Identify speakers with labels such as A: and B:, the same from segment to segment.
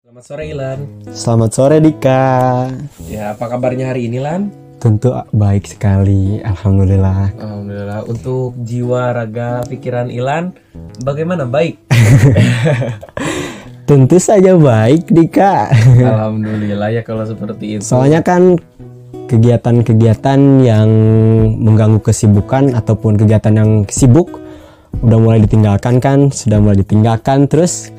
A: Selamat sore Ilan.
B: Selamat sore Dika.
A: Ya, apa kabarnya hari ini Lan?
B: Tentu baik sekali, alhamdulillah.
A: Alhamdulillah untuk jiwa, raga, pikiran Ilan bagaimana? Baik.
B: Tentu saja baik Dika.
A: Alhamdulillah ya kalau seperti itu.
B: Soalnya kan kegiatan-kegiatan yang mengganggu kesibukan ataupun kegiatan yang sibuk udah mulai ditinggalkan kan, sudah mulai ditinggalkan terus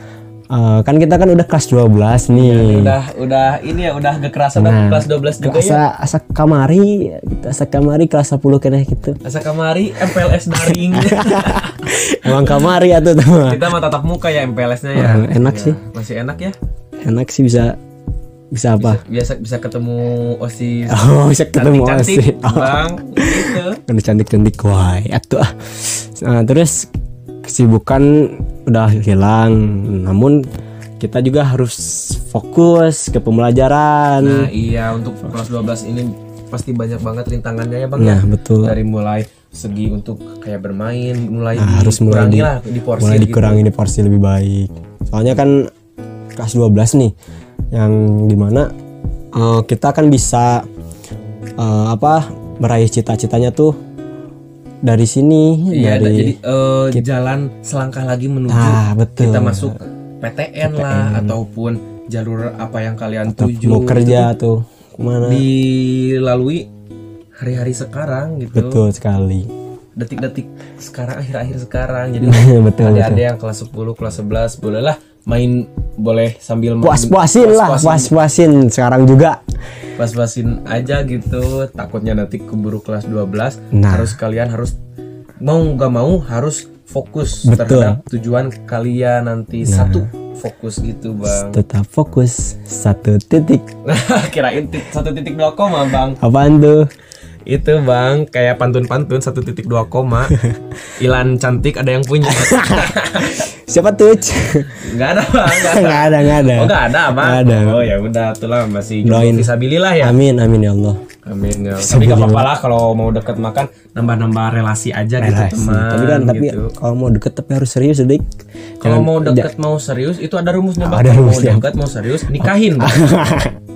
B: eh, kan kita kan udah kelas 12 nih.
A: udah udah ini ya udah gak kerasa
B: Nah,
A: dah, kelas 12 juga ya.
B: Asa asa kamari, gitu. asa kamari kelas 10 kena gitu.
A: Asa kamari MPLS daring.
B: Emang kamari atau teman.
A: Kita mah tatap muka ya MPLS-nya ya.
B: Eh, enak
A: Ya,
B: sih.
A: Masih enak ya.
B: Enak sih bisa bisa apa?
A: Biasa bisa ketemu OSIS.
B: Oh, bisa ketemu Oh,
A: Cantik-cantik,
B: Osi.
A: Bang. Gitu.
B: Kan cantik-cantik wah, atuh. ah. Nah, terus kesibukan udah hilang. Namun kita juga harus fokus ke
A: Nah,
B: pembelajaran.
A: iya untuk kelas 12 ini pasti banyak banget rintangannya ya, Bang. ya?
B: Nah, betul.
A: dari mulai segi untuk kayak bermain mulai
B: Nah, harus mulai
A: dikurangi
B: di-
A: lah di porsi
B: Mulai
A: gitu.
B: dikurangi di porsi lebih baik. Soalnya kan kelas 12 nih yang dimana eh, kita kan bisa eh, apa meraih cita-citanya tuh dari sini
A: Iya,
B: dari
A: jadi eh, jalan selangkah lagi menuju
B: Ah, betul.
A: kita masuk PTN, lah ataupun jalur apa yang kalian tuju
B: mau
A: gitu.
B: kerja tuh kemana
A: dilalui hari-hari sekarang gitu.
B: Betul sekali.
A: Detik-detik sekarang akhir-akhir sekarang. Jadi
B: betul
A: ada
B: betul.
A: ada yang kelas 10, kelas 11 bolehlah main boleh sambil main-
B: Puas-puasin lah, puas-puasin sekarang juga.
A: pas-pasin aja gitu takutnya nanti keburu kelas 12
B: Nah.
A: harus kalian harus mau nggak mau harus fokus
B: Betul. Nah.
A: terhadap tujuan kalian nanti satu fokus gitu bang
B: Tetap fokus satu titik.
A: kirain tit- satu titik dua koma bang
B: Apaan tuh?
A: itu bang kayak pantun-pantun satu titik dua koma Ilan cantik ada yang punya
B: Siapa tuh?
A: nggak ada bang nggak ada.
B: Enggak ada, enggak ada.
A: Oh nggak ada bang
B: Nggak ada.
A: Oh ya udah itulah masih
B: Doain.
A: Fisabilillah ya
B: Amin, amin ya Allah.
A: Amin ya. Tapi gak apa-apa lah kalau mau deket makan nambah-nambah relasi aja gitu teman.
B: tapi kan tapi
A: gitu.
B: kalau mau deket tapi harus serius dik.
A: kalau mau deket mau serius itu ada rumusnya bang.
B: Ada
A: Kalau
B: rumusnya.
A: Mau deket mau serius nikahin bang.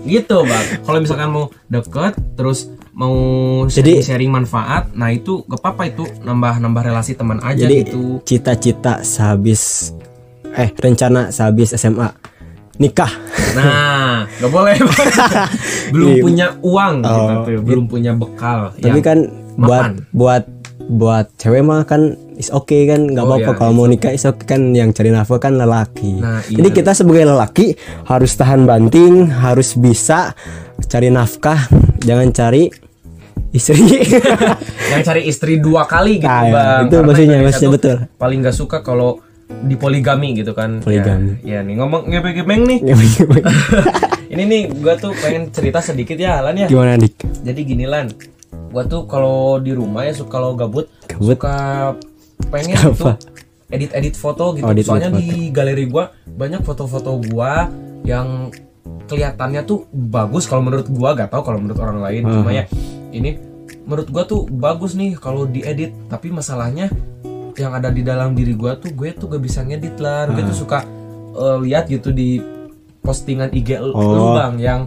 A: gitu bang. Kalau misalkan mau deket terus mau
B: Jadi-
A: sharing manfaat, nah itu gak apa-apa itu nambah-nambah relasi teman aja
B: Jadi
A: gitu.
B: cita-cita sehabis eh rencana sehabis SMA nikah.
A: Nah, gak boleh bang. belum
B: Iya.
A: punya uang, gitu,
B: Oh,
A: tuh. belum punya bekal. ya.
B: Tapi
A: yang-
B: kan buat
A: mapan.
B: buat buat cewek mah kan is oke kan nggak
A: Oh,
B: apa-apa
A: iya,
B: kalau mau nikah is oke kan yang cari nafkah kan lelaki.
A: Nah, iya.
B: Jadi kita sebagai lelaki harus tahan banting, harus bisa cari nafkah, jangan cari istri.
A: yang cari istri dua kali gitu
B: Nah, ya,
A: bang
B: itu
A: Karena
B: maksudnya,
A: Indonesia
B: maksudnya
A: tuh
B: betul.
A: paling gak suka kalau dipoligami gitu kan
B: Poligami.
A: ya,
B: Iya.
A: ya nih ngomong ngepeng-ngepeng nih ini nih gua tuh pengen cerita sedikit ya Lan ya
B: Gimana dik?
A: jadi gini Lan gua tuh kalau di rumah ya suka kalau gabut,
B: Gabut?
A: suka pengen
B: Suka
A: tuh
B: apa?
A: edit-edit foto gitu
B: Oh, edit-edit
A: soalnya di galeri gua banyak foto-foto gua yang kelihatannya tuh bagus kalau menurut gua gak tahu kalau menurut orang lain cuma ya ini menurut gua tuh bagus nih kalau diedit tapi masalahnya yang ada di dalam diri gua tuh gue tuh gak bisa ngedit lah gue tuh suka eh, lihat gitu di postingan IG lu lu,
B: Oh.
A: bang yang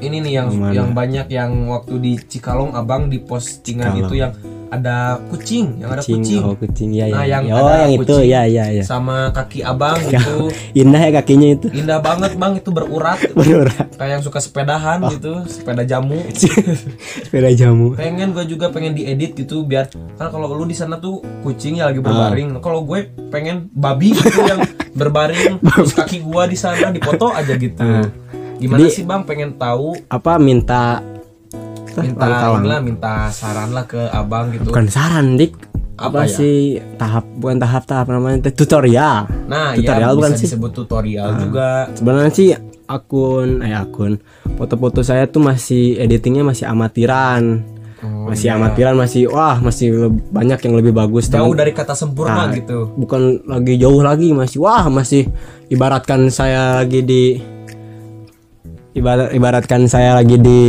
A: ini nih yang yang banyak yang waktu di Cikalong abang di postingan
B: Cikalong.
A: itu yang ada kucing yang ada kucing
B: oh kucing ya,
A: Nah,
B: ya.
A: yang
B: oh
A: ada
B: yang itu
A: kucing.
B: ya ya ya.
A: sama kaki abang gitu
B: Iya. Indah ya kakinya itu.
A: indah banget bang itu berurat
B: Berurat.
A: kayak yang suka sepedahan
B: Oh.
A: gitu sepeda jamu
B: Sepeda jamu.
A: pengen gue juga pengen diedit gitu biar karena kalau lu di sana tuh kucing ya lagi
B: Ah.
A: berbaring kalau gue pengen babi gitu yang berbaring terus kaki gua di sana dipoto aja gitu gimana
B: Ah. Jadi-
A: sih bang pengen tahu
B: Apa minta
A: minta
B: Langkah-langkah.
A: inilah, minta saran lah ke abang gitu
B: bukan saran dik
A: Apa
B: apa,
A: ya?
B: sih tahap bukan tahap tahap namanya teh, tutorial
A: nah
B: Tutorial
A: ya
B: bukan
A: bisa
B: sih? Ah.
A: disebut tutorial juga
B: sebenarnya sih akun eh akun foto-foto saya tuh masih editingnya masih amatiran
A: Oh,
B: masih amatiran masih wah masih le- banyak yang lebih bagus
A: jauh
B: teman-
A: dari kata sempurna
B: Nah,
A: gitu
B: bukan lagi jauh lagi masih wah masih ibaratkan saya lagi di ibarat ibaratkan saya lagi di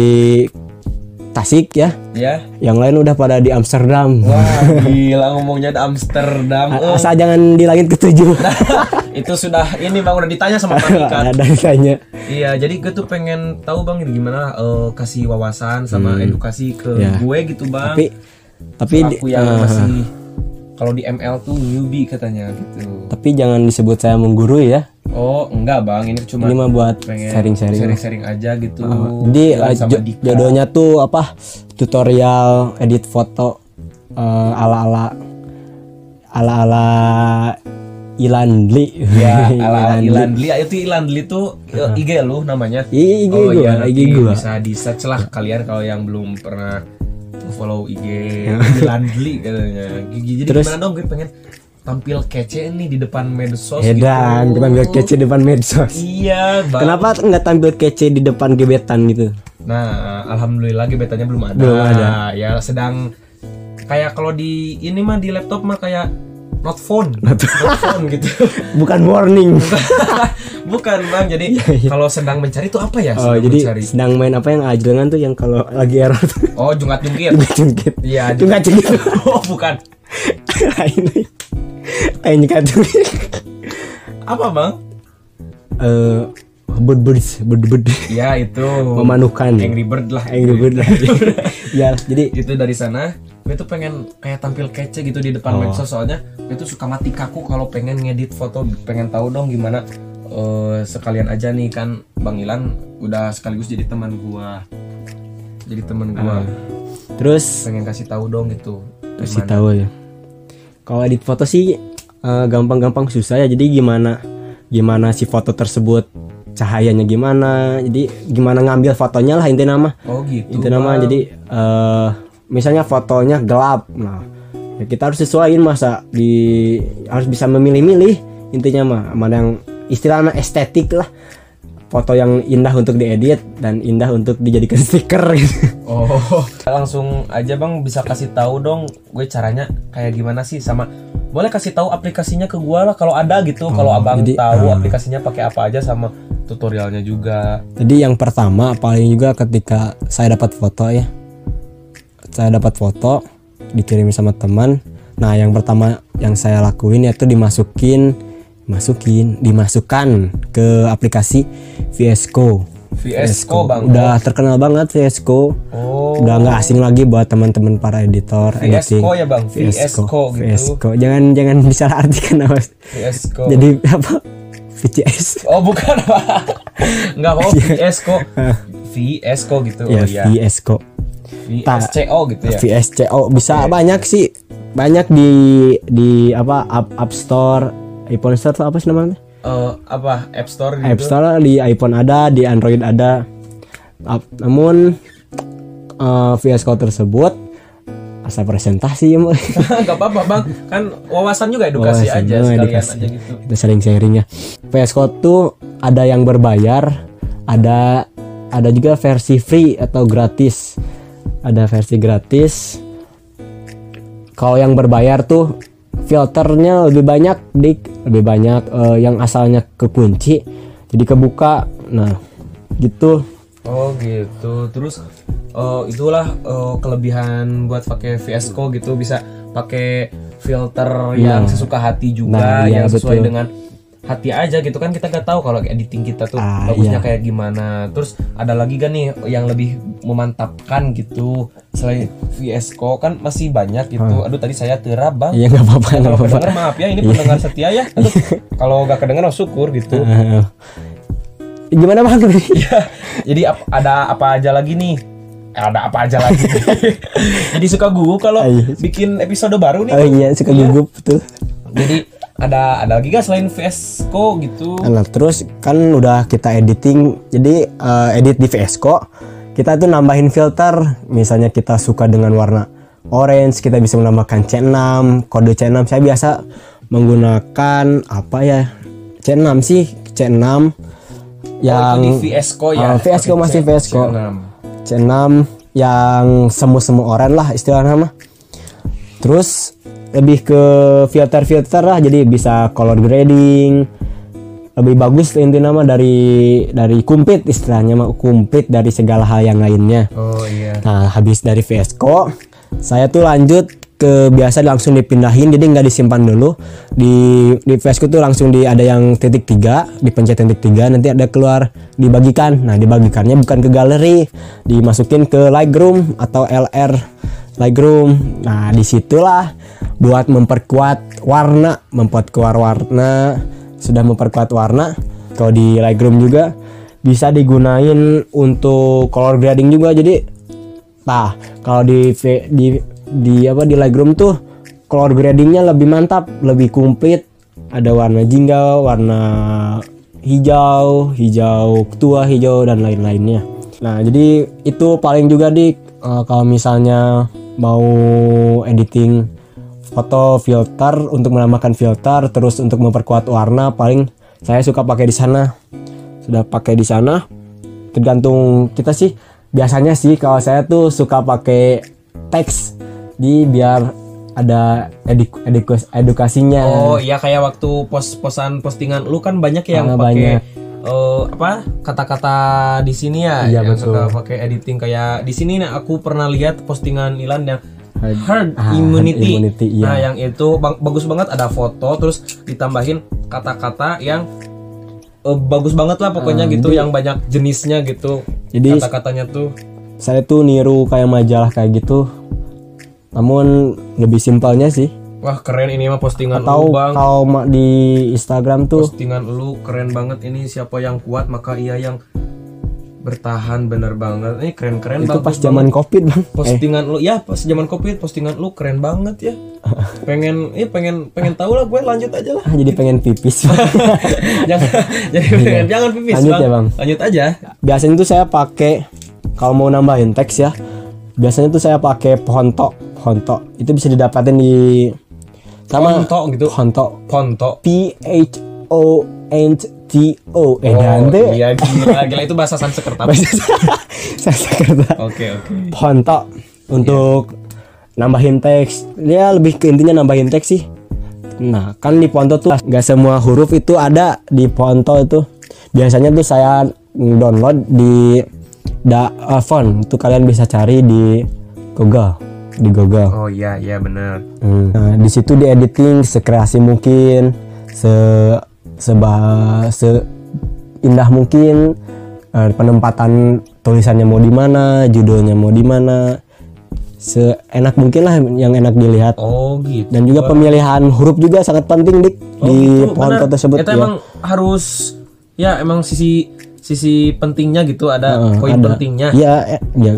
B: Tasik ya
A: ya
B: yang lain udah pada di Amsterdam
A: wah gila ngomongnya ada Amsterdam eh.
B: A- asal jangan di langit ketujuh
A: itu sudah ini bang udah ditanya sama malaikat
B: ada ditanya
A: Iya, jadi gue tuh pengen tahu bang gimana eh, kasih wawasan sama edukasi ke
B: Ya.
A: gue gitu bang.
B: tapi tapi di-
A: aku yang
B: eh,
A: masih kalau di ML tuh newbie katanya gitu.
B: eh, tapi jangan disebut saya menggurui ya
A: Oh enggak bang, ini cuma
B: ini mah buat
A: pengen
B: sharing-sharing
A: sharing-sharing aja gitu.
B: jadi
A: Bilang
B: eh,
A: sama
B: jo-
A: Dika.
B: jodohnya tuh apa tutorial edit foto eh, ala-ala ala-ala Ilan Li
A: Ya, ala Ilan Dli, itu Ilan Dli tuh eh, IG lu namanya.
B: Iya, IG
A: oh,
B: gua,
A: iya, nanti
B: IG gua.
A: Bisa di search lah kalian kalau yang belum pernah follow IG Ilan Dli katanya. Jadi
B: Terus-
A: gimana dong gue pengen tampil kece nih di depan medsos
B: Edan
A: gitu.
B: kita ambil kece depan medsos
A: Iya, bang.
B: Kenapa nggak tampil kece di depan gebetan gitu?
A: Nah, alhamdulillah gebetannya belum ada.
B: Belum ada.
A: Ya sedang kayak kalau di ini mah di laptop mah kayak not phone, not, phone gitu.
B: Bukan warning.
A: Bukan bang, jadi kalau sedang mencari itu apa ya?
B: Iya, Oh,
A: sedang
B: jadi
A: mencari.
B: sedang main apa yang ajelengan tuh yang kalau lagi error tuh
A: Oh jungat jungkir.
B: juga cungkit.
A: Iya,
B: Juga cungkit.
A: oh bukan.
B: Ini. Ayo nyeka cungkit.
A: Apa bang?
B: Eh, bud bud bud bud.
A: Ya itu.
B: Memanukan.
A: Angry Bird lah.
B: Angry Bird lah. ya, jadi
A: Itu dari sana. Gue tuh pengen kayak tampil kece gitu di
B: Oh.
A: depan medsos soalnya gue tuh suka mati kaku kalau pengen ngedit foto, pengen tahu dong gimana eh, sekalian aja nih kan Bang Ilan udah sekaligus jadi teman gua. Jadi teman gua.
B: Ah. terus
A: Pengen kasih tahu dong gitu.
B: kasih tahu ya. Kalau edit foto sih eh, gampang-gampang susah ya. Jadi gimana gimana si foto tersebut cahayanya gimana jadi gimana ngambil fotonya lah intinya mah
A: Oh gitu.
B: itu nama jadi eh misalnya fotonya gelap nah ya kita harus sesuaiin masa di harus bisa memilih-milih intinya mah mana yang istilahnya estetik lah foto yang indah untuk diedit dan indah untuk dijadikan stiker gitu.
A: Oh. Langsung aja Bang bisa kasih tahu dong gue caranya kayak gimana sih sama boleh kasih tahu aplikasinya ke gua lah kalau ada gitu. kalau Abang
B: Oh, jadi, ah.
A: tahu aplikasinya pakai apa aja sama tutorialnya juga.
B: Jadi yang pertama paling juga ketika saya dapat foto ya. Saya dapat foto dikirimin sama teman. Nah, yang pertama yang saya lakuin yaitu dimasukin masukin dimasukkan ke aplikasi VS Code.
A: VS Code Bang.
B: Udah terkenal banget VS Code.
A: Oh.
B: Udah nggak asing lagi buat teman-teman para editor
A: VS Code ya Bang. VS Code
B: VS
A: gitu.
B: Code. Jangan jangan disalah artikan
A: VS Code.
B: Jadi apa? VCS.
A: Oh bukan Bang. Enggak mau VS Code. VS Code gitu.
B: ya,
A: Oh iya.
B: VS Code.
A: VSCO gitu ya.
B: VSCO Oh, bisa banyak sih banyak di di apa app, app store iPhone store atau apa sih namanya
A: Eh, apa App Store gitu.
B: app store di iPhone ada di Android ada Ap- namun eh, VS Code tersebut asal presentasi ya Mo.
A: Enggak apa-apa Bang. Kan wawasan juga edukasi aja
B: Wawasan juga
A: sekalian
B: edukasi.
A: aja gitu.
B: kita sering sharing ya VS Code tuh ada yang berbayar ada ada juga versi free atau gratis ada versi gratis kalau yang berbayar tuh filternya lebih banyak dik lebih banyak eh, yang asalnya kekunci jadi kebuka nah gitu
A: Oh gitu. Terus eh, itulah eh, kelebihan buat pakai VS Code gitu bisa pakai filter yang sesuka hati juga
B: Nah, iya,
A: yang sesuai
B: betul.
A: dengan hati aja gitu kan kita nggak tahu kalau editing kita tuh
B: Ah,
A: bagusnya
B: iya.
A: kayak gimana. Terus ada lagi kan nih yang lebih memantapkan gitu selain VS Code kan masih banyak gitu. Aduh tadi saya terabang bang.
B: ya nggak apa-apa Ah. nggak
A: Kalau
B: apa-apa Iya.
A: pendengar maaf ya ini pendengar setia ya. Aduh, kalau nggak kedengar oh, syukur gitu.
B: Eh, gimana bang
A: Iya. Jadi ap- ada apa aja lagi nih? Eh, Ada apa aja lagi? Jadi suka gugup kalau
B: Iya.
A: bikin episode baru nih.
B: oh iya suka gugup tuh
A: Jadi ada ada lagi gak selain VSCO gitu?
B: Nah, terus kan udah kita editing, jadi eh, edit di VS Code, kita tuh nambahin filter. Misalnya kita suka dengan warna orange, kita bisa menambahkan C6, kode C6. Saya biasa menggunakan apa ya? C6 sih, C6 yang
A: oh, itu di VSCO ya.
B: Ah, VS Code masih
A: Oke,
B: VS Code.
A: C6.
B: C6 yang semu-semu orang lah istilahnya mah. Terus lebih ke filter-filter lah jadi bisa color grading lebih bagus intinya mah dari dari kumplit istilahnya mah kumplit dari segala hal yang lainnya
A: oh iya
B: Nah, habis dari VSCO, saya tuh lanjut ke biasa langsung dipindahin, jadi nggak disimpan dulu. Di di VSCO tuh langsung di ada yang titik tiga, dipencet titik tiga, nanti ada keluar dibagikan. Nah, dibagikannya bukan ke galeri, dimasukin ke Lightroom atau LR Lightroom. Nah, disitulah buat memperkuat warna, memperkuat warna, sudah memperkuat warna. Kalau di Lightroom juga bisa digunain untuk color grading juga jadi Nah, kalau di V- di di apa di Lightroom tuh color gradingnya lebih mantap, lebih komplit. Ada warna jingga, warna hijau, hijau tua, hijau dan lain-lainnya. Nah, jadi itu paling juga di eh, kalau misalnya mau editing foto filter untuk menambahkan filter terus untuk memperkuat warna paling saya suka pakai di sana sudah pakai di sana tergantung kita sih biasanya sih kalau saya tuh suka pakai teks di biar ada edik- edikus- edukasinya
A: oh iya kayak waktu pos posan postingan lu kan banyak yang
B: Ah,
A: pakai
B: banyak.
A: eh, apa kata-kata di sini ya
B: Iya,
A: yang
B: betul.
A: suka pakai editing kayak di sini nah aku pernah lihat postingan Ilan yang
B: Herd-
A: herd
B: ah, herd
A: immunity,
B: immunity, iya.
A: nah yang itu bang- bagus banget ada foto terus ditambahin kata-kata yang eh, bagus banget lah pokoknya gitu yang banyak jenisnya gitu
B: Ah, Jadi-
A: kata-katanya tuh
B: saya tuh niru kayak majalah kayak gitu namun lebih simpelnya sih
A: wah keren ini mah postingan lu
B: tahu
A: bang
B: kalau ma- di Instagram tuh
A: postingan lu keren banget ini siapa yang kuat maka ia yang bertahan bener banget ini keren keren
B: itu
A: banget
B: pas zaman eh. covid bang
A: postingan lu ya pas zaman covid postingan lu keren banget ya pengen ya pengen pengen tahu lah gue lanjut aja lah
B: Ah, jadi pengen pipis
A: jangan jadi pengen- jangan pipis
B: Iya. Lanjut
A: bang.
B: ya, Bang.
A: lanjut aja
B: biasanya tuh saya pakai kalau mau nambahin teks ya biasanya tuh saya pakai Ponto Ponto itu bisa didapatin di sama
A: Ponto gitu.
B: Ponto
A: ponto
B: P H O N T O eh Dante
A: iya gila gila itu bahasa Sanskerta oke
B: saya sekretar
A: oke
B: Ponto untuk nambahin teks dia lebih ke intinya nambahin teks sih nah kan di Ponto tuh nggak semua huruf itu ada di Ponto itu biasanya tuh saya download di da eh, font itu kalian bisa cari di Google di Google
A: oh iya iya bener
B: Hmm. Nah, di situ di editing sekreasi mungkin, se seba se indah mungkin, eh, penempatan tulisannya mau di mana, judulnya mau di mana, seenak mungkin lah yang enak dilihat.
A: oh gitu
B: Dan juga pemilihan huruf juga sangat penting dik di
A: Oh, gitu, benar.
B: foto tersebut
A: Itu
B: ya.
A: emang harus ya emang sisi sisi pentingnya gitu ada
B: Eh,
A: poin
B: ada.
A: pentingnya.
B: Iya, eh, iya.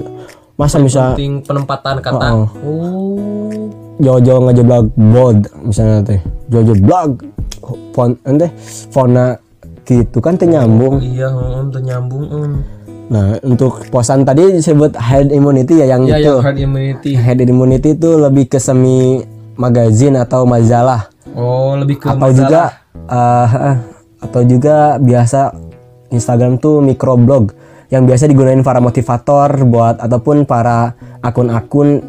B: Masa bisa
A: Penting penempatan kata.
B: Oh,
A: Oh.
B: Jojo ngejeblak bold misalnya teh. Jojo blog font ente fona gitu kan teh nyambung.
A: Iya, um, nyambung. em.
B: Nah, untuk posan tadi disebut herd immunity ya yang
A: Ya,
B: itu.
A: yang herd immunity.
B: Herd immunity itu lebih ke semi magazine atau majalah
A: Oh, lebih ke
B: atau juga eh, atau juga biasa Instagram tuh microblog yang biasa digunain para motivator buat ataupun para akun-akun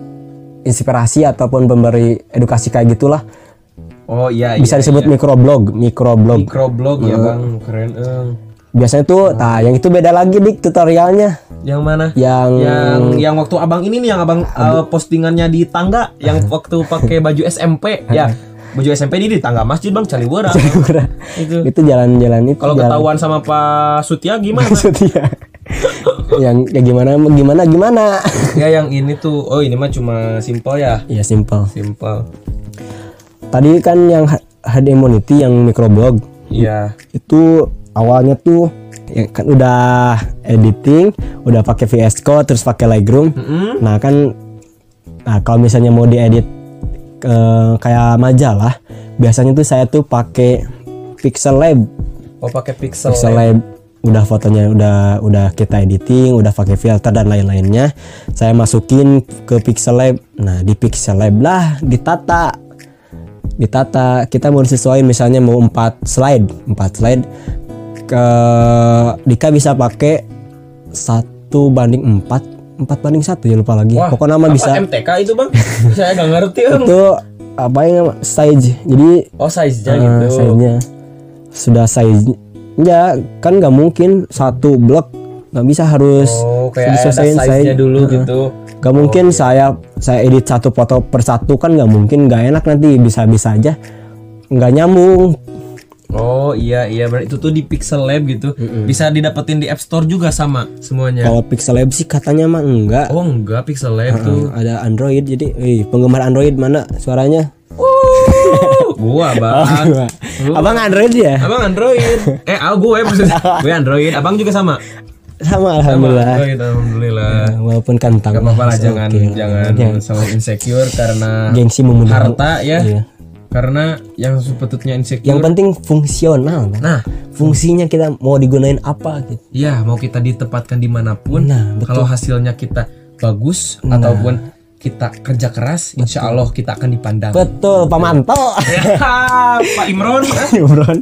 B: inspirasi ataupun pemberi edukasi kayak gitulah
A: Oh, iya, iya.
B: bisa disebut Iya. microblog microblog
A: microblog ya, Bang. Keren. em.
B: biasanya tuh nah yang itu beda lagi dik tutorialnya
A: Yang mana?
B: yang
A: Yang yang waktu Abang ini nih yang Abang eh, postingannya di tangga yang waktu pakai baju SMP ya. Baju SMP ini di tangga masjid Bang Caliwara. itu.
B: itu jalan-jalan itu
A: Kalau
B: jalan-
A: ketahuan sama Pak Sutia gimana?
B: Setia. yang ya gimana gimana gimana.
A: ya yang ini tuh, oh ini mah cuma simple ya,
B: ya simpel.
A: simple.
B: Tadi kan yang h- herd immunity yang microblog
A: Iya.
B: itu awalnya tuh ya kan udah editing, udah pakai VS Code terus pakai Lightroom. Nah, kan nah kalau misalnya mau diedit ke kayak majalah, biasanya tuh saya tuh pakai Pixel Lab.
A: Oh pakai pixel.
B: Selain udah fotonya udah udah kita editing, udah pakai filter dan lain-lainnya, saya masukin ke Pixel Lab. Nah, di Pixel Lab lah ditata. Ditata, kita mau sesuai misalnya mau 4 slide, 4 slide ke Dika bisa pakai satu banding 4 4 banding satu ya lupa lagi.
A: Wah,
B: Pokoknya nama
A: apa
B: bisa
A: MTK itu bang? Saya nggak ngerti Bang.
B: itu apa yang size. Jadi
A: Oh size nya
B: Nah,
A: gitu.
B: size-nya. sudah size Enggak, kan nggak mungkin satu blok nggak bisa harus
A: Oh, kayak ada
B: diselesain
A: size-nya dulu
B: Heeh.
A: gitu.
B: Gak mungkin saya saya edit satu foto per satu kan nggak mungkin nggak enak nanti bisa-bisa aja nggak nyambung
A: Oh iya iya berarti itu tuh di Pixel Lab gitu. Bisa didapetin di App Store juga sama semuanya.
B: kalau Pixel Lab sih katanya mah enggak
A: Oh enggak Pixel Lab tuh.
B: ada Android jadi wih, penggemar Android mana suaranya
A: Wuh, gua bang.
B: abang Android ya
A: Abang Android. Eh, ah, gue maksudnya. Gue Android. Abang juga sama. Sama
B: sama alhamdulillah
A: Android, alhamdulillah.
B: Nah, walaupun kantang
A: Gak apa-apa lah,
B: It's
A: jangan
B: okay.
A: jangan selalu insecure karena
B: gengsi memudah
A: harta ya.
B: Iya.
A: Karena yang sepetutnya insecure.
B: yang penting fungsional kan?
A: Nah,
B: fungsinya kita mau digunain apa gitu
A: ya mau kita ditempatkan dimanapun.
B: Nah, betul. Nah.
A: kalau hasilnya kita bagus ataupun kita kerja keras, insya Allah kita akan dipandang.
B: betul Iya, pamantau
A: Ya, Pak Imron.
B: Imron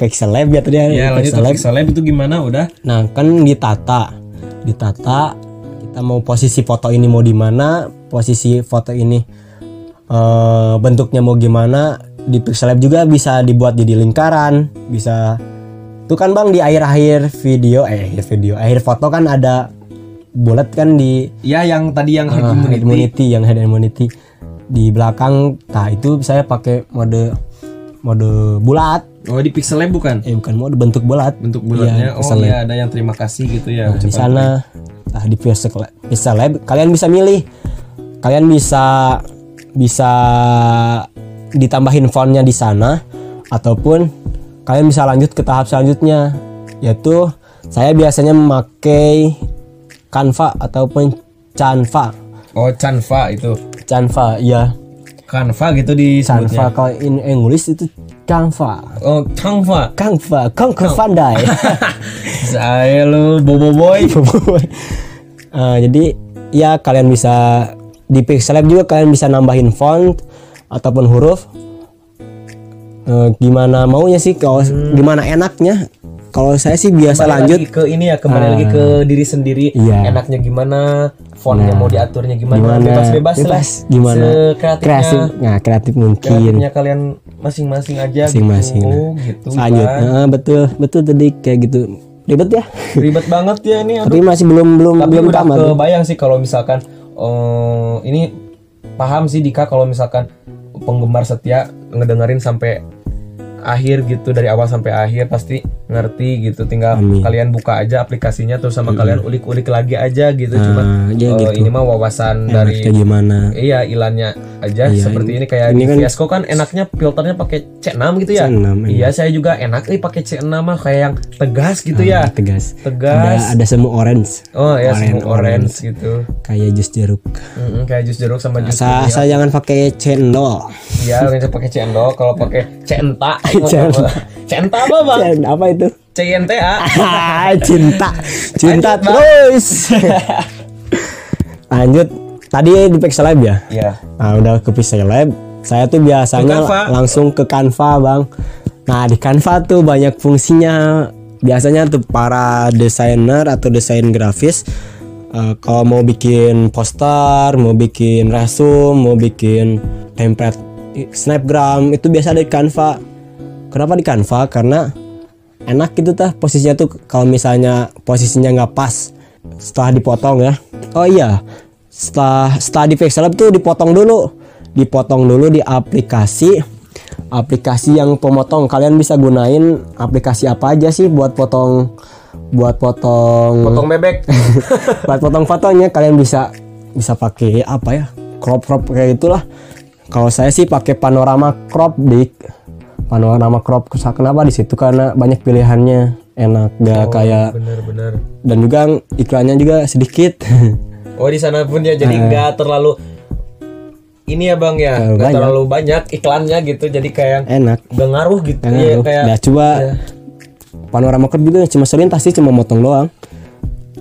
B: Pixel Lab ya tadi
A: ya lanjut
B: Pixel
A: ke
B: Lab.
A: Pixel Lab itu gimana? Udah.
B: Nah kan ditata Ditata Kita mau posisi foto ini mau di mana Posisi foto ini eh, Bentuknya mau gimana Di Pixel Lab juga bisa dibuat jadi lingkaran Bisa Itu kan bang di akhir-akhir video Eh akhir video Akhir foto kan ada Bulat kan di
A: Ya yang tadi yang herd
B: Ah,
A: immunity.
B: head immunity yang head immunity di belakang nah itu saya pakai mode mode bulat
A: Oh di Pixel Lab bukan?
B: eh bukan mode bentuk bulat
A: bentuk bulatnya
B: Iya,
A: oh
B: Pixel Lab.
A: ya ada yang terima kasih gitu ya
B: Nah, di
A: ucapan.
B: sana nah di Pixel Lab, Pixel Lab, kalian bisa milih kalian bisa bisa ditambahin fontnya di sana ataupun kalian bisa lanjut ke tahap selanjutnya yaitu saya biasanya memakai Canva ataupun Canva
A: oh Canva itu
B: Canva ya
A: Canva gitu di
B: Canva kalau in English itu Canva
A: oh Canva
B: Canva Conquer Van Dijk.
A: saya lu bobo boy
B: Eh, jadi ya kalian bisa di Pixel Lab juga kalian bisa nambahin font ataupun huruf Eh, gimana maunya sih kalau gimana enaknya kalau saya sih biasa
A: Kembali
B: lanjut
A: Hmm.
B: Ah.
A: lagi ke ini ya kembali lagi ke diri sendiri
B: Iya. Nah.
A: enaknya gimana fontnya mau diaturnya gimana,
B: gimana
A: bebas bebas lah
B: gimana
A: Sekreatifnya-
B: kreatif nah kreatif mungkin
A: kreatifnya kalian masing-masing aja gitu.
B: Masing-masing.
A: oh gitu
B: lanjut
A: Bang.
B: Eh, betul betul tadi kayak gitu ribet ya
A: ribet banget ya ini aduh.
B: tapi masih belum belum
A: tapi
B: belum
A: udah
B: tamat
A: kebayang sih kalau misalkan eh, ini paham sih Dika kalau misalkan penggemar setia ngedengerin sampai akhir gitu dari awal sampai akhir pasti ngerti gitu tinggal kalian buka aja aplikasinya terus sama kalian ulik-ulik lagi aja gitu cuman
B: Ah, ya
A: eh,
B: gitu.
A: ini mah wawasan dari
B: enaknya gimana
A: iya ilannya aja seperti ini kayak di Fiasco kan enaknya filternya pakai C6 gitu ya
B: C6,
A: iya saya juga enak nih pakai C6 mah kayak yang tegas gitu ya
B: Ah, tegas
A: tegas
B: ada ada semu orange
A: Oh ya semua orange, gitu.
B: kayak jus jeruk
A: Mm-mm, kayak jus jeruk sama jus.
B: asal asal jangan pakai cendol
A: Iya, kalau pakai cendol, kalau pakai centa.
B: Centa.
A: Centa apa, Bang?
B: Cen- apa itu
A: CNTA.
B: Ah, cinta cinta
A: Lanjut, Bang.
B: terus lanjut tadi di Pixel Lab ya
A: Iya.
B: nah udah ke Pixel Lab saya tuh biasanya
A: Ke Canva.
B: langsung ke Canva bang nah di Canva tuh banyak fungsinya biasanya tuh para desainer atau desain grafis eh, kalau mau bikin poster mau bikin resume mau bikin template i- snapgram itu biasa ada di Canva kenapa di Canva karena enak gitu tah posisinya tuh kalau misalnya posisinya nggak pas setelah dipotong ya oh iya setelah setelah di Pixel Lab tuh dipotong dulu dipotong dulu di aplikasi aplikasi yang pemotong kalian bisa gunain aplikasi apa aja sih buat potong buat potong
A: Potong bebek.
B: buat potong fotonya kalian bisa bisa pakai apa ya crop crop kayak itulah kalau saya sih pakai panorama crop big panorama crop kenapa di situ karena banyak pilihannya enak gak kayak
A: Bener-bener.
B: dan juga iklannya juga sedikit
A: Oh, di sana pun ya jadi nggak terlalu ini ya, Bang ya.
B: Ah. Terlalu
A: Nggak
B: banyak. Eh.
A: terlalu banyak iklannya gitu. Jadi kayak
B: enak
A: nggak ngaruh gitu
B: enak
A: ya
B: bro.
A: kayak
B: Nah, coba panorama crop juga cuma selintas sih cuma motong doang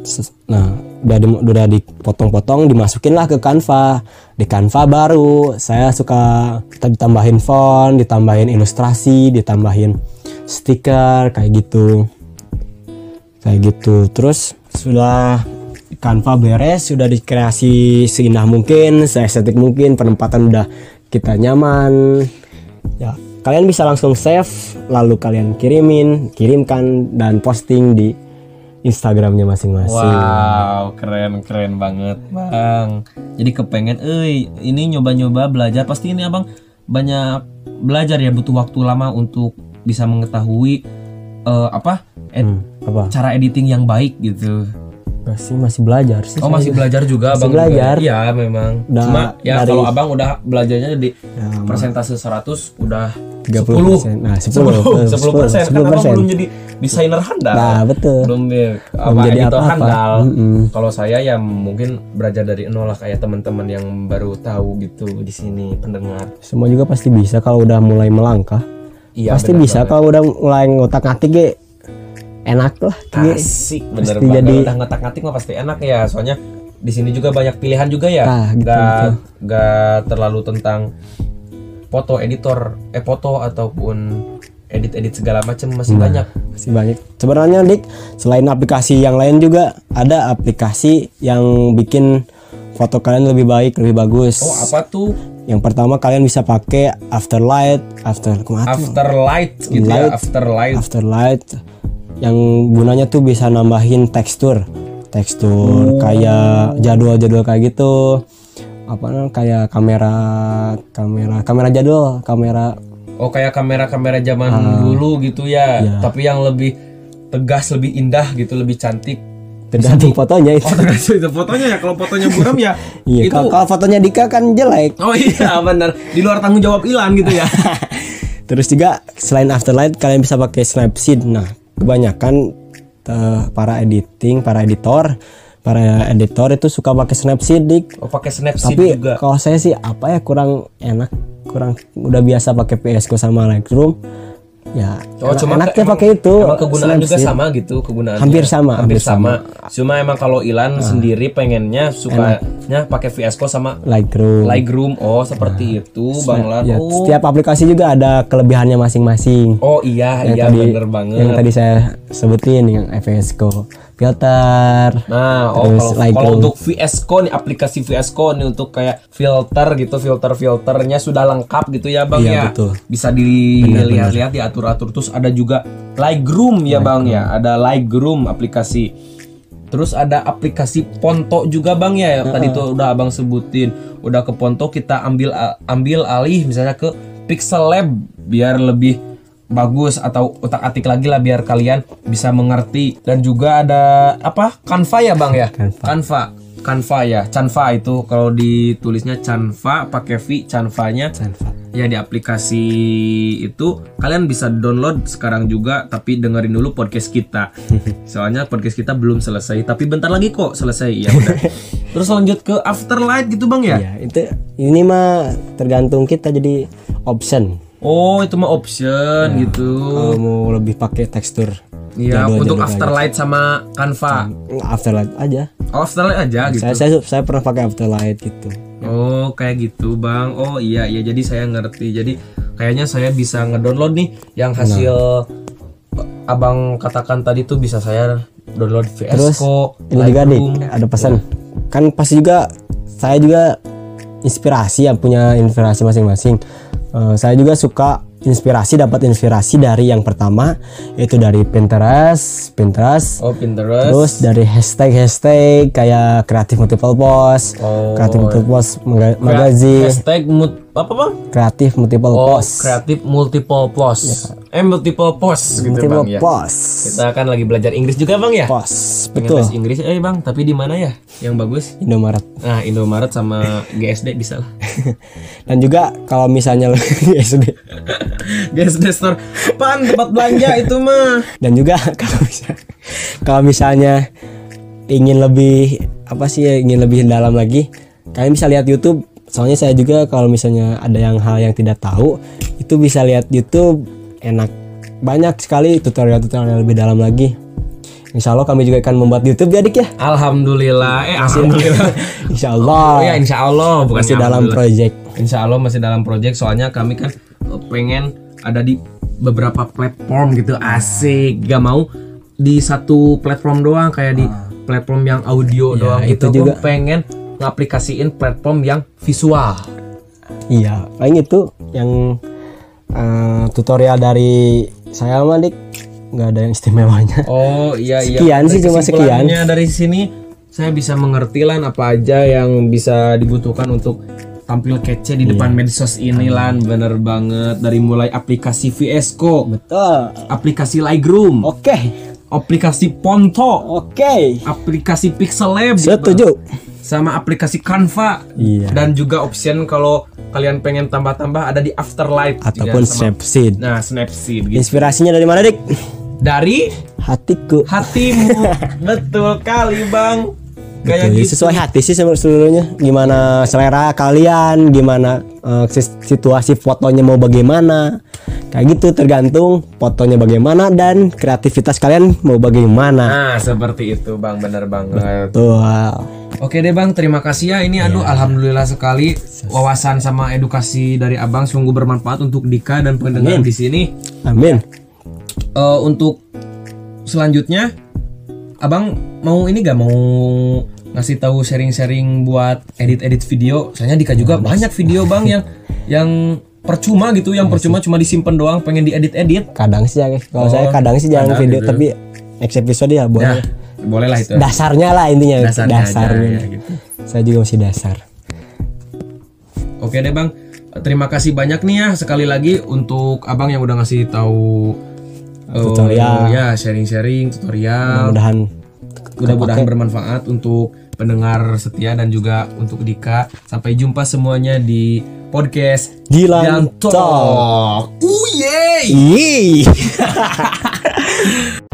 B: Ses- nah udah di- udah dipotong-potong dimasukin lah ke Canva di Canva baru saya suka kita ditambahin font ditambahin ilustrasi ditambahin stiker kayak gitu kayak gitu terus sudah Canva beres sudah dikreasi seindah mungkin seestetik mungkin penempatan udah kita nyaman ya kalian bisa langsung save lalu kalian kirimin kirimkan dan posting di Instagramnya masing-masing
A: Wow, keren keren banget, Bang. Jadi kepengen euy, ini nyoba-nyoba belajar. Pasti ini Abang banyak belajar ya, butuh waktu lama untuk bisa mengetahui eh, apa? ed-
B: Hmm, apa
A: cara editing yang baik gitu.
B: masih masih belajar sih
A: Oh,
B: saya
A: masih
B: juga.
A: belajar juga
B: Masih
A: Abang. juga.
B: belajar.
A: Iya, memang.
B: Udah
A: Cuma ya
B: dari-
A: kalau Abang udah belajarnya di
B: Ya,
A: persentase 100 udah
B: 30%.
A: 10.
B: Nah, 10.
A: 10 persen kan
B: 10%.
A: abang belum jadi desainer handal
B: nah betul
A: belum deh
B: Belum
A: apa
B: jadi
A: editor
B: apa-apa.
A: handal
B: Mm-mm.
A: kalau saya ya mungkin belajar dari nol lah kayak teman-teman yang baru tahu gitu di sini pendengar
B: semua juga pasti bisa kalau udah mulai melangkah
A: iya
B: pasti
A: bener
B: bisa
A: banget.
B: kalau udah mulai ngotak ngatik ge enak lah ge.
A: asik bener
B: Iya. Pasti
A: banget
B: jadi-
A: udah ngotak ngatik mah pasti enak ya soalnya di sini juga banyak pilihan juga ya
B: Nah, gitu,
A: nggak
B: gitu.
A: nggak terlalu tentang foto editor eh foto ataupun edit-edit segala macam masih
B: Nah.
A: banyak
B: masih banyak sebenarnya dik selain aplikasi yang lain juga ada aplikasi yang bikin foto kalian lebih baik lebih bagus
A: oh apa tuh
B: yang pertama kalian bisa pakai afterlight after kumaha tuh?
A: afterlight gitu ya
B: Light.
A: afterlight
B: afterlight yang gunanya tuh bisa nambahin tekstur
A: Oh.
B: tekstur kayak jadwal-jadwal kayak gitu apa namanya kayak kamera kamera kamera jadwal kamera
A: Oh kayak kamera-kamera zaman
B: Ah.
A: dulu gitu ya,
B: Iya.
A: tapi yang lebih tegas, lebih indah gitu, lebih cantik.
B: tergantung fotonya itu
A: Oh tegas itu fotonya ya, kalau fotonya buram ya itu.
B: iya kalau kalau fotonya Dika kan jelek
A: Oh iya benar, di luar tanggung jawab Ilan gitu ya.
B: Terus juga selain Afterlight kalian bisa pakai Snapseed. Nah, kebanyakan eh, para editing, para editor, para editor itu suka pakai Snapseed, Dik.
A: Oh pakai Snapseed
B: Tapi
A: juga.
B: kalau saya sih apa ya kurang enak, kurang udah biasa pakai PSCO sama Lightroom. Ya,
A: Oh
B: enak-
A: cuma
B: enaknya
A: emang-
B: pakai itu.
A: Emang kegunaan juga
B: Snapseed.
A: sama gitu kegunaannya.
B: Hampir sama, Ah.
A: hampir
B: hampir
A: sama. Cuma emang kalau Ilan sendiri pengennya sukanya pakai VS Code sama
B: Lightroom. Ah.
A: Lightroom. Oh seperti itu, Bang Lan.
B: Ya,
A: Oh.
B: Setiap aplikasi juga ada kelebihannya masing-masing.
A: Oh iya,
B: yang
A: iya
B: tadi
A: bener banget.
B: yang tadi saya sebutin yang FSCO filter
A: Nah, oh,
B: Terus
A: kalau,
B: Lightroom.
A: kalau untuk VS Code nih aplikasi VS Code nih untuk kayak filter gitu, filter-filternya sudah lengkap gitu ya, Bang
B: Iya,
A: ya.
B: betul.
A: Bisa dilihat-lihat diatur-atur terus ada juga Lightroom ya, Bang ya. Ada Lightroom aplikasi. Terus ada aplikasi Ponto juga, Bang ya. Tadi tuh udah Abang sebutin. Udah ke Ponto kita ambil ambil alih misalnya ke Pixel Lab biar lebih bagus atau utak-atik lagi lah biar kalian bisa mengerti dan juga ada apa Canva ya bang ya
B: Canva.
A: Canva Canva ya Canva itu kalau ditulisnya Canva pakai V Canvanya
B: Canva.
A: ya di aplikasi itu kalian bisa download sekarang juga tapi dengerin dulu podcast kita soalnya podcast kita belum selesai tapi bentar lagi kok selesai ya udah terus lanjut ke Afterlight gitu bang ya
B: Ya, itu ini mah tergantung kita jadi option.
A: oh itu mah option gitu
B: Kalau mau lebih pakai tekstur
A: Iya,
B: Jadwal-
A: untuk
B: jadwal kayak
A: afterlight sama Canva.
B: afterlight aja.
A: Oh, afterlight aja gitu.
B: Saya, saya saya pernah pakai afterlight gitu.
A: Oh, kayak gitu, Bang. Oh, iya iya jadi saya ngerti. Jadi kayaknya saya bisa ngedownload nih yang
B: Nah.
A: hasil eh, Abang katakan tadi tuh bisa saya download VS
B: Terus
A: Code,
B: ini juga nih
A: Lightroom.
B: ada pesan. Kan pasti juga saya juga inspirasi ya punya inspirasi masing-masing. Eh, saya juga suka inspirasi dapat inspirasi dari yang pertama yaitu dari Pinterest, Pinterest.
A: Oh, Pinterest.
B: Terus dari hashtag-hashtag kayak kreatif multiple post,
A: Oh.
B: kreatif multiple post maga-
A: Krea-
B: magazine,
A: Hashtag mut, apa, Bang?
B: kreatif multiple
A: Oh,
B: post,
A: kreatif multiple post. Eh, multiple post gitu,
B: Ya. multiple
A: Bang ya.
B: post,
A: Kita kan lagi belajar Inggris juga, Bang ya?
B: post,
A: Pengen
B: betul.
A: les Inggris, eh Bang, tapi di mana ya yang bagus?
B: Indomaret.
A: Nah, Indomaret sama GSD bisa lah.
B: Dan juga kalau misalnya Iya, lu- SD.
A: GSD store. Pan tempat belanja itu mah.
B: Dan juga kalau bisa kalau misalnya ingin lebih apa sih ya, ingin lebih dalam lagi, kalian bisa lihat YouTube. Soalnya saya juga kalau misalnya ada yang hal yang tidak tahu, itu bisa lihat YouTube enak. Banyak sekali tutorial-tutorial yang lebih dalam lagi. Insya Allah kami juga akan membuat YouTube ya Dik ya.
A: Alhamdulillah. Eh, alhamdulillah.
B: Insya
A: Oh ya,
B: Allah
A: insya Allah bukan
B: masih dalam project.
A: Insya Allah masih dalam project soalnya kami kan eh, pengen ada di beberapa platform gitu asik gak mau di satu platform doang kayak di platform yang audio doang Ah.
B: itu
A: Iya, itu juga
B: juga.
A: pengen ngaplikasiin platform yang visual
B: Iya, paling itu yang eh, tutorial dari saya mah dik nggak ada yang istimewanya
A: Oh iya iya.
B: Sekian
A: Dari
B: sih, cuma sekian.
A: kesimpulannya dari sini saya bisa mengerti lan apa aja yang bisa dibutuhkan untuk tampil kece
B: Iya.
A: di depan medsos ini lan bener banget dari mulai aplikasi VS Code,
B: betul
A: aplikasi Lightroom,
B: oke
A: aplikasi Ponto,
B: oke
A: aplikasi Pixel Lab,
B: setuju
A: sama aplikasi Canva
B: Iya.
A: dan juga option kalau kalian pengen tambah-tambah ada di Afterlight juga Iya,
B: ataupun
A: sama-
B: Snapseed
A: Nah, Snapseed gitu.
B: inspirasinya dari mana dik
A: Dari
B: hatiku
A: hatimu betul kali bang kayak
B: Betul,
A: gitu
B: sesuai hati sih seluruh- seluruhnya gimana selera kalian gimana eh, sis- situasi fotonya mau bagaimana kayak gitu tergantung fotonya bagaimana dan kreativitas kalian mau bagaimana
A: nah seperti itu bang bener banget
B: tuh
A: oke deh bang terima kasih ya ini aduh alhamdulillah sekali wawasan sama edukasi dari abang sungguh bermanfaat untuk Dika dan pendengar di sini
B: amin
A: Eh, untuk selanjutnya abang mau ini gak mau ngasih tahu sharing-sharing buat edit-edit video soalnya Dika juga banyak video bang yang yang percuma gitu yang percuma cuma disimpan doang pengen diedit-edit
B: kadang sih ya guys. kalau saya kadang sih
A: Oh,
B: jarang
A: kadang
B: video
A: gitu.
B: tapi next episode ya boleh
A: Nah, boleh lah itu.
B: dasarnya lah intinya
A: Dasarnya aja, ya, gitu.
B: saya juga masih dasar
A: Oke deh bang, terima kasih banyak nih ya sekali lagi untuk abang yang udah ngasih tahu eh,
B: Tutorial.
A: ya sharing-sharing tutorial.
B: mudahan
A: Mudah-mudahan bermanfaat untuk pendengar setia dan juga untuk Dika. Sampai jumpa semuanya di podcast
B: Dilan
A: Dilan Talk.
B: Talk.
A: Talk. Uh, yeay!
B: Yeay.